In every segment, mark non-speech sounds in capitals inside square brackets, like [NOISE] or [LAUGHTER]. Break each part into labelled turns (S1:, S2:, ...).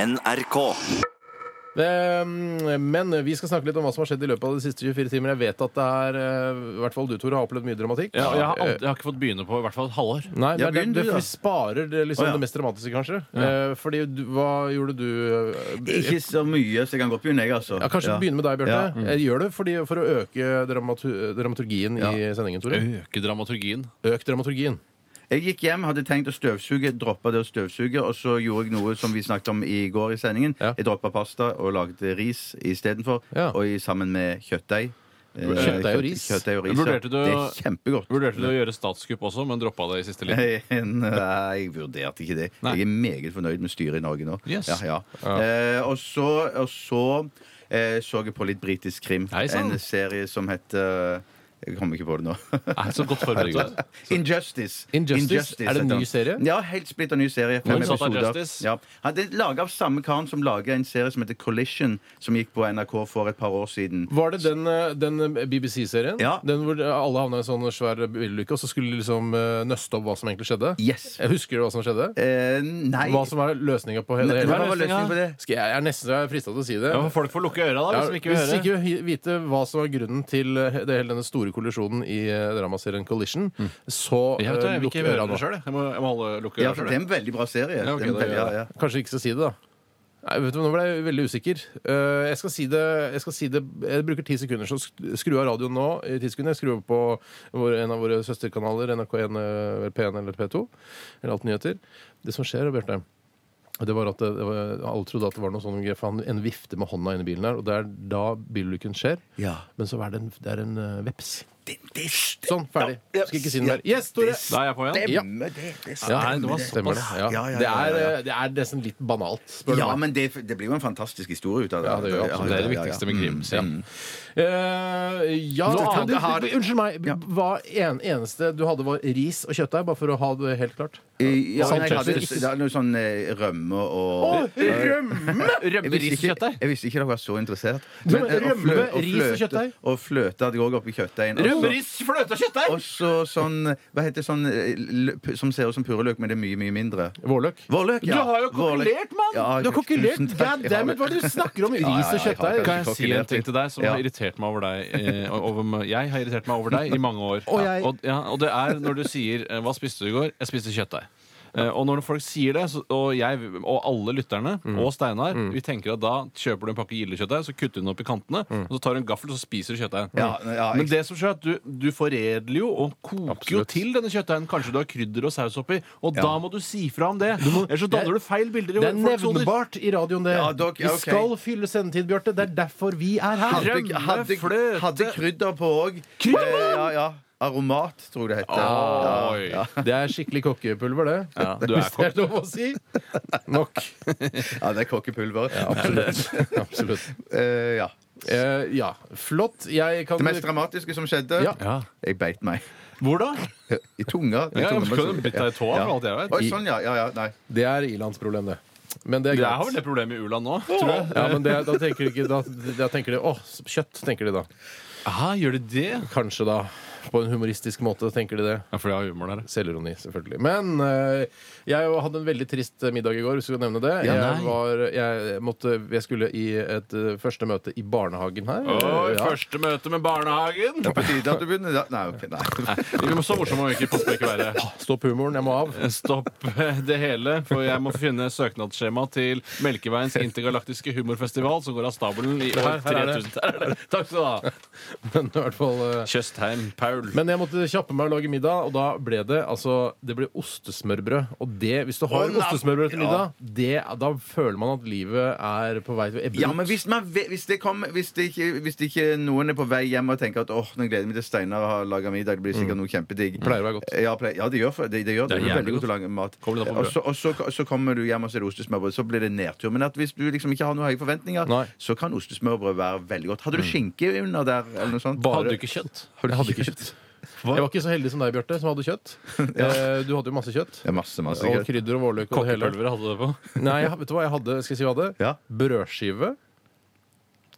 S1: NRK.
S2: Det, mm, men vi skal snakke litt om hva som har skjedd i løpet av de siste 24 timer. Jeg vet at det er, eh, i hvert fall du, Tore, har opplevd mye dramatikk. Eh,
S3: Ja, og jeg, har aldri, jeg har ikke fått begynne på i hvert fall et halvår.
S2: Nei, det
S4: Ja,
S2: er det,
S4: begynn
S2: det,
S4: du, da.
S2: vi sparer det, liksom,
S4: Å, ja.
S2: det mest dramatiske, kanskje. Eh, fordi du, hva gjorde du? eh,
S4: Ikke så mye, så jeg kan godt begynne, jeg, altså.
S2: Ja, kanskje
S4: Ja.
S2: begynne med deg, Bjarte.
S4: Ja.
S3: Mm.
S2: Jeg gjør det fordi, for å øke dramatu dramaturgien i sendingen, Tore.
S3: Øke dramaturgien.
S2: Øk dramaturgien.
S4: Jeg gikk hjem, hadde tenkt å støvsuge, droppa det å støvsuge, og så gjorde jeg noe som vi snakket om i går i sendingen.
S2: Ja.
S4: Jeg droppa pasta og lagde ris istedenfor,
S2: Ja.
S4: og i- sammen med kjøttdeig. Eh,
S2: Kjøttdeig og ris?
S4: Kjøtt, kjøttdeig og ris ja.
S3: Vurderte du-
S4: Det er kjempegodt.
S3: Vurderte du å gjøre statskupp også, men droppa det i siste liten.
S4: [LAUGHS] Nei, jeg vurderte ikke det.
S3: Nei.
S4: Jeg er meget fornøyd med styret i Norge nå.
S3: Yes.
S4: Ja, ja. Eh, og så, og så eh, så jeg på litt britisk krim.
S3: Hei, sann.
S4: en serie som heter Jeg kommer ikke på det nå. [LAUGHS]
S3: Nei, så godt forberedt.
S4: Injustice.
S2: Injustice? Er det en ny
S4: heter den.
S2: serie?
S4: Ja, helt splitter ny serie. Fem
S3: Motsatt av
S4: episoder.
S3: Justice.
S4: Ja. Han- Det er laget av samme karen som lager en serie som heter Collision, som gikk på NRK for et par år siden.
S2: Var det den, eh, den BBC-serien?
S4: Ja.
S2: Den hvor alle havna i en sånn svær bilulykke, og så skulle de liksom eh, nøste opp hva som egentlig skjedde?
S4: Yes.
S2: Jeg husker du hva som skjedde?
S4: Eh, nei
S2: Hva som er løsninga på
S4: Nei,
S2: hele
S4: Hva
S2: hele-
S4: var løsningen på det?
S2: Skal jeg, jeg er nesten så jeg er frista til å si det.
S3: Ja, men folk får lukke øra da,
S2: Ja,
S3: hvis de ikke vil
S2: hvis
S3: høre.
S2: ikke vi vil vite hva som var grunnen til eh, det, hele denne store kollisjonen i eh, dramaserien Collision, så
S3: Jeg Mm. vet det,
S2: eh,
S3: jeg vil
S2: lukk
S3: ikke
S2: øra
S3: høre
S2: nå.
S3: det sjøl. Jeg må, jeg må holde, lukke
S4: Ja,
S3: øra
S4: for
S3: sjøl.
S4: det er en veldig bra serie.
S3: Ja, ok,
S4: Det er en
S3: da gjør
S4: veldig-
S3: jeg
S4: ja, ja.
S2: Kanskje ikke skal si det, da. Nei, vet du, Nå ble jeg veldig usikker. Eh, jeg skal si det Jeg, skal si det, jeg bruker ti sekunder, så sk- skru av radioen nå. i 10 sekunder, Jeg skrur over på vår, en av våre søsterkanaler, NRK1, eh, eller P1 eller P2. Eller Alt Nyheter. Det som skjer, Bjarte det var at det, det var, Alle trodde at det var noe sånn grep, for han- en vifte med hånda inni bilen her, og det er da bilulykken skjer.
S4: Ja.
S2: Men så er det en, det er en eh, veps.
S4: Det, det st-
S2: Sånn, ferdig.
S4: Ja, ja.
S2: Skal ikke si noe
S4: Ja,
S2: mer. Yes, Tore!
S4: det
S3: Da er jeg på igjen.
S4: stemmer, det. det
S3: Ja, nei, det var
S4: stemmer.
S2: Stemmer det. Ja.
S4: Ja, ja,
S2: Det,
S4: ja,
S2: er,
S4: ja, ja.
S2: eh, det er nesten litt banalt, spør du
S4: Ja,
S2: meg.
S4: men det, det blir jo en fantastisk historie ut av det.
S2: Ja, det gjør absolutt
S3: Det er det
S4: ja, ja.
S3: viktigste med krim. sier jeg.
S2: Eh, ja,
S4: Noe
S2: du-
S4: annet
S2: du-
S4: jeg har-
S2: du- Unnskyld meg.
S4: Ja.
S2: Hva en, eneste du hadde, var ris og kjøttdeig? Bare for å ha det helt klart.
S4: I- Ja,
S2: Salt
S4: nei, jeg hadde,
S2: Justice.
S4: det er noe sånn eh, rømme og
S2: rømme!
S4: Jeg visste, ikke, jeg visste ikke dere var så interessert.
S2: Du,
S4: eh, og
S2: rømme,
S4: flø-
S2: ris og
S4: fløte-
S2: kjøttdeig?
S4: Og fløte hadde jeg òg oppi kjøttdeigen. Og så-
S3: Rømmeris, fløte og kjøttdeig!
S4: Og så sånn Hva heter det sånn eh, l- p- som ser ut som purreløk, men det er mye, mye mindre?
S2: Vårløk.
S4: Vårløk, ja.
S3: Du har jo
S4: Vårløk.
S3: kokkelert, mann!
S4: Ja,
S2: Du har
S4: tusen
S2: kokkelert!
S4: takk.
S2: God
S4: Jeg har
S2: damn it, hva er det du snakker om?
S4: ja,
S2: Ris og
S4: jeg har
S2: kjøttdeig?
S4: kanskje-
S3: Kan jeg si en ting til deg som
S4: Ja.
S3: har irritert meg over deg eh, over, Jeg har irritert meg over deg i mange år.
S2: Og jeg-
S3: og, ja, og det er når du sier eh, 'Hva spiste du i går?' 'Jeg spiste kjøttdeig'. Eh, Og når folk sier det, så, og jeg og alle lytterne og Steinar, vi tenker at da kjøper du en pakke gildekjøttdeig, så kutter du den opp i kantene, og så tar du en gaffel og så spiser du kjøttdeigen.
S4: Ja, ja,
S3: Men det som skjer, er at du, du foredler jo og koker jo
S2: Absolutt.
S3: til denne kjøttdeigen. Kanskje du har krydder og saus oppi, og da må du si fra om det. Ellers så danner du feil bilder i
S2: Det er
S3: folks hoder.
S2: nevnbart i radioen, det.
S4: Ja, dok- ja,
S2: Vi
S4: ok.
S2: skal fylle sendetid, Bjarte. Det er derfor vi er her.
S4: Hadde, hadde,
S3: fløte.
S4: hadde krydder på òg. Ja, ja. Aromat, tror jeg det heter. Ja,
S3: Oi.
S4: ja.
S2: Det er skikkelig kokkepulver, det.
S3: Ja, du er
S2: Hvis det er lov å si. Nok.
S4: [LAUGHS] ja, det er kokkepulver.
S2: Absolutt.
S4: Eh, ja.
S2: Eh, ja, flott. Jeg kan
S4: Det mest dramatiske som skjedde
S2: Ja.
S3: Ja.
S4: Jeg beit meg.
S3: Hvor da?
S4: I tunga. I
S3: Ja, men
S4: tunga, men
S3: kan
S4: så-
S3: du bytte deg i tåa, for alt jeg vet?
S4: Oi, sånn, ja. ja, ja nei.
S2: Det er Ilans problem, det. Men det er
S3: Jeg har
S2: greit.
S3: vel det problemet i u-land nå, tror jeg.
S2: Ja, men det, da tenker de ikke da, da tenker de, Åh, kjøtt, tenker de da.
S3: Aha, gjør det det?
S2: Kanskje da. På en humoristisk måte tenker de det.
S3: Ja, for jeg har humor der.
S2: Selvironi, selvfølgelig. Men eh, jeg hadde en veldig trist eh, middag i går, hvis du skal nevne det.
S3: Ja,
S2: jeg,
S3: nei.
S2: var, jeg, måtte, jeg skulle i et eh, første møte i barnehagen her.
S3: Oi,
S2: Ja.
S3: første møte med barnehagen!
S4: På tide at du begynner da. Nei, ok, nei.
S3: Vi må Så morsom må vi ikke passe på ikke [LAUGHS] å være.
S2: Stopp humoren, jeg må av. [LAUGHS]
S3: Stopp det hele, for jeg må finne søknadsskjema til Melkeveiens intergalaktiske humorfestival, som går av stabelen i
S2: Her-
S3: år
S2: her er det.
S3: 3000. Her er det. Takk skal du ha.
S2: Men i hvert fall eh,
S3: Tjøstheim Paul.
S2: Men jeg måtte kjappe meg og lage middag, og da ble det altså, det ble ostesmørbrød. Og det, hvis du har
S4: Å, nei.
S2: ostesmørbrød til
S4: Ja.
S2: middag, det, da føler man at livet er på vei til å ebbe
S4: Ja,
S2: ut.
S4: men hvis, man, ve- hvis, det kom, hvis, det ikke, hvis det ikke noen er på vei hjem og tenker at åh, nå gleder jeg meg til Steinar har laga middag, det blir sikkert noe kjempedigg.
S2: Pleier å være godt.
S4: Ja, plei- ja det gjør for- det. Det, gjør,
S3: Det
S4: det,
S3: er
S4: det er
S3: jævlig
S4: veldig godt å lage mat.
S3: Kommer det da på
S4: Og så, og så, så kommer du hjem og ser ostesmørbrød, så blir det nedtur. Men at hvis du liksom ikke har noen høye forventninger,
S2: Nei.
S4: så kan ostesmørbrød være veldig godt. Hadde du skinke under der, eller noe sånt?
S3: Hadde du ikke kjøtt?
S2: Jeg hadde ikke kjøtt. Jeg var ikke så heldig som deg, Bjarte, som hadde [LAUGHS] kjøtt. Eh, Du hadde jo masse kjøtt.
S4: Det er masse, masse
S2: Og
S4: kjøtt.
S2: krydder og vårløk og det hele.
S3: Kokkepulver hadde du det på?
S2: Nei, jeg- vet du hva jeg hadde? Skal jeg si hva jeg hadde?
S4: Ja.
S2: Brødskive,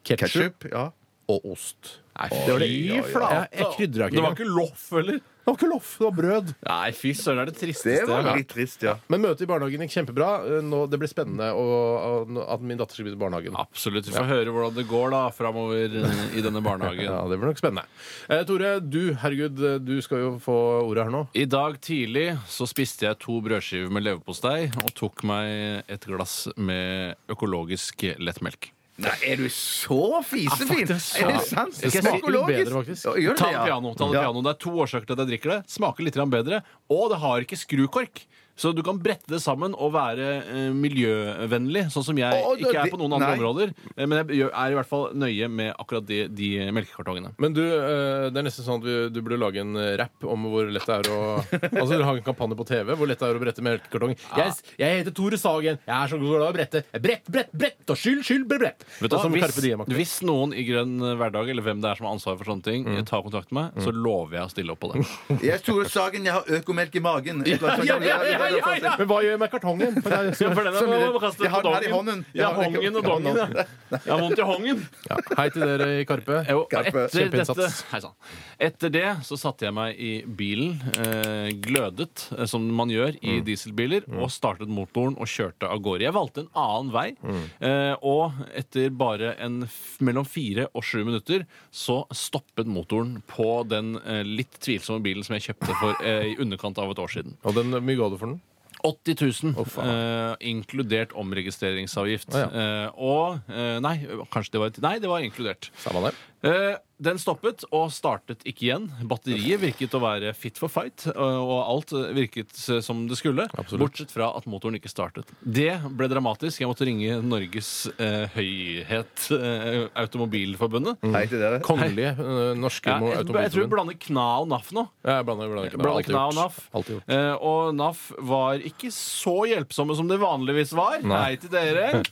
S2: ketsjup
S4: Ketchup, ja.
S2: og ost.
S3: Nei,
S2: Det var det-
S3: fy flate!
S2: Jeg, jeg krydra ikke.
S3: Det var
S2: engang.
S3: ikke loff heller.
S2: Det var ikke loff, det var brød.
S3: Nei, fy søren, det er det tristeste
S4: Det
S3: jeg har
S4: var
S3: hørt.
S4: litt trist, ja.
S2: Men møtet i barnehagen gikk kjempebra. Eh, Nå, det blir spennende å- å- at min datter skal begynne i barnehagen.
S3: Absolutt. Vi får høre hvordan det går da framover eh, i denne barnehagen.
S2: Ja, det blir nok spennende. Eh, Tore, du, herregud, eh, du skal jo få ordet her nå.
S3: I dag tidlig så spiste jeg to brødskiver med leverpostei og tok meg et glass med økologisk lettmelk.
S4: Nei, er du så fisefin?
S3: Ja, faktisk,
S4: er
S3: ja.
S4: det sant?
S2: Det
S4: Er
S2: smaker litt
S4: økologisk?
S2: bedre, faktisk.
S4: Ja, gjør det,
S3: Ta
S4: ja.
S3: det piano, ta det piano. Det er to årsaker til at jeg drikker det. Smaker litt grann bedre, og det har ikke skrukork. Så du kan brette det sammen og være eh, miljøvennlig, sånn som jeg
S4: Å, det-
S3: ikke er på noen andre
S4: nei.
S3: områder. eh, Men jeg gjør- er i hvert fall nøye med akkurat de, de melkekartongene.
S2: Men du, eh, det er nesten sånn at vi- du burde lage en eh, rap om hvor lett det er [LAUGHS] å Altså, dere har en kampanje på TV hvor lett det er å brette melkekartong. Jeg, jeg heter Tore Sagen. Jeg er så glad i å brette. Brett, brett, brett. Og skyld, skyld, brett, brett.
S3: Vet du,
S2: Og som
S3: hva,
S2: Carpe Diem
S3: hvis, hvis noen i Grønn hverdag eller hvem det er som har ansvaret for sånne ting, eh, tar kontakt med meg, så lover jeg å stille opp på det.
S4: Jeg, Tore Sagen, jeg har økomelk i magen. Jeg har-
S2: ja, ja, ja, ja, ja. Men hva gjør jeg med kartongen? For det er-
S3: Ja, for den er-
S4: Som-
S3: må- må kaste
S4: jeg har
S3: på
S4: den her i
S3: dongen.
S4: hånden. Jeg
S3: Ja,
S4: har den ikke-
S3: hongen og dongen. Ja. Jeg har vondt i hongen.
S2: Ja. Hei til dere i [LAUGHS] Karpe.
S3: Jo, og etter,
S2: Kjempeinnsats.
S3: dette, hei sann. etter det så satte jeg meg i bilen, eh, glødet, eh, som man gjør
S4: Mm.
S3: i dieselbiler, og startet motoren og kjørte av gårde. Jeg valgte en annen vei,
S4: Mm.
S3: eh, og etter bare en f mellom fire og sju minutter så stoppet motoren på den eh, litt tvilsomme bilen som jeg kjøpte for eh, i underkant av et år siden.
S2: Og den, hvor mye ga du for den?
S3: 80 000,
S2: faen.
S3: eh, inkludert omregistreringsavgift.
S2: Å, ja.
S3: Eh, og eh, Nei, kanskje det var Nei, det var inkludert.
S2: Samme det.
S3: Eh, den stoppet og startet ikke igjen. Batteriet virket å være fit for fight, eh, og alt eh, virket eh, som det skulle.
S2: Absolutt.
S3: Bortsett fra at motoren ikke startet. Det ble dramatisk. Jeg måtte ringe Norges eh, høyhet, eh, Automobilforbundet.
S4: Hei til dere.
S2: Kongelige eh, norske
S3: Ja,
S2: mo-
S3: jeg, jeg tror vi
S2: automobilforbund.
S3: blander kna og naff nå.
S2: Ja, jeg blander, blander, ikke. Det har
S3: Blander
S2: jeg alltid
S3: kna og
S2: gjort.
S3: NAF.
S2: Alltid gjort.
S3: Eh, og NAF var ikke så hjelpsomme som det vanligvis var. Nei,
S2: [LAUGHS]
S3: til dere.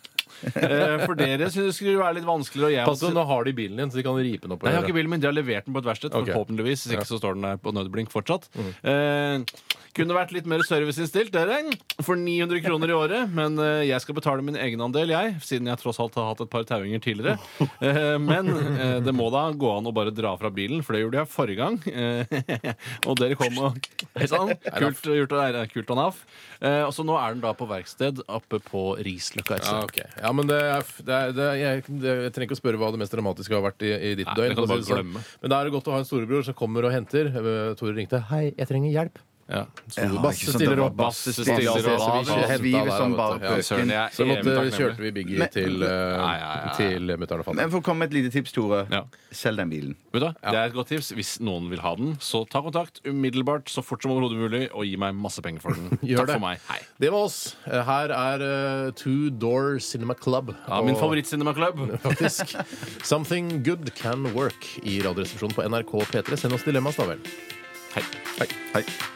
S3: Eh, for dere synes det skulle være litt vanskeligere. Og jeg,
S2: Pass på, Altså, nå har de bilen din, så de kan ripe den opp. og
S3: Nei, jeg har
S2: gjøre.
S3: ikke bilen min, De har levert den på et verksted,
S2: Ok.
S3: forhåpentligvis. Hvis ikke så står den der på nødblink fortsatt. Eh, kunne vært litt mer serviceinnstilt, dere. For 900 kroner i året. Men eh, jeg skal betale min egenandel, jeg. Siden jeg tross alt har hatt et par tauinger tidligere. Eh, men eh, det må da gå an å bare dra fra bilen, for det gjorde jeg forrige gang. Eh, [LAUGHS] og dere kom og Hei [LAUGHS] sann. Kult eh, gjort av dere. Kult av NAF. Eh, og så nå er den da på verksted oppe på Risløkka. et
S2: Ja,
S3: sted.
S2: ok. ja, men det er, det er, det er, jeg, det, jeg trenger ikke å spørre hva det mest dramatiske har vært i, i ditt
S3: Nei,
S2: døgn.
S3: det kan
S2: for
S3: du
S2: å si
S3: bare
S2: det sånn.
S3: glemme.
S2: Men da er det godt å ha en storebror som kommer og henter. Eh, Tore ringte. 'Hei, jeg trenger hjelp'.
S3: Ja.
S4: Ja, ikke
S2: Basse
S4: sant,
S2: stiller
S4: det var
S2: opp.
S3: Basse
S4: stiller
S2: Basse
S4: opp.
S2: så vi
S4: Ja,
S2: hentet
S4: sviver
S2: der, vet
S4: som
S2: du. Ja,
S4: bare søker.
S3: Søren, jeg er
S2: Så måtte,
S3: evig takknemlig.
S2: kjørte vi Biggie
S4: Men-
S2: til, uh,
S3: Nei, ja, ja, ja.
S2: til mutter'n og
S4: Men
S2: fatter'n.
S4: for å komme med et lite tips, Tore.
S3: Ja.
S4: Selg den bilen.
S3: Vet du, hva? Det er et godt tips. Hvis noen vil ha den, så ta kontakt umiddelbart så fort som overhodet mulig, og gi meg masse penger for den.
S2: [LAUGHS] Gjør
S3: Takk
S2: det.
S3: for meg. Hei.
S2: Det var oss. Eh, Her er eh, Two Door Cinema Club.
S3: Ja, min
S2: Og-
S3: favoritt-cinemaklubb.
S2: [LAUGHS] Faktisk. Something good can work i Radioresepsjonen på NRK P3. Send oss dilemmas, da vel.
S3: Hei.
S4: Hei. Hei.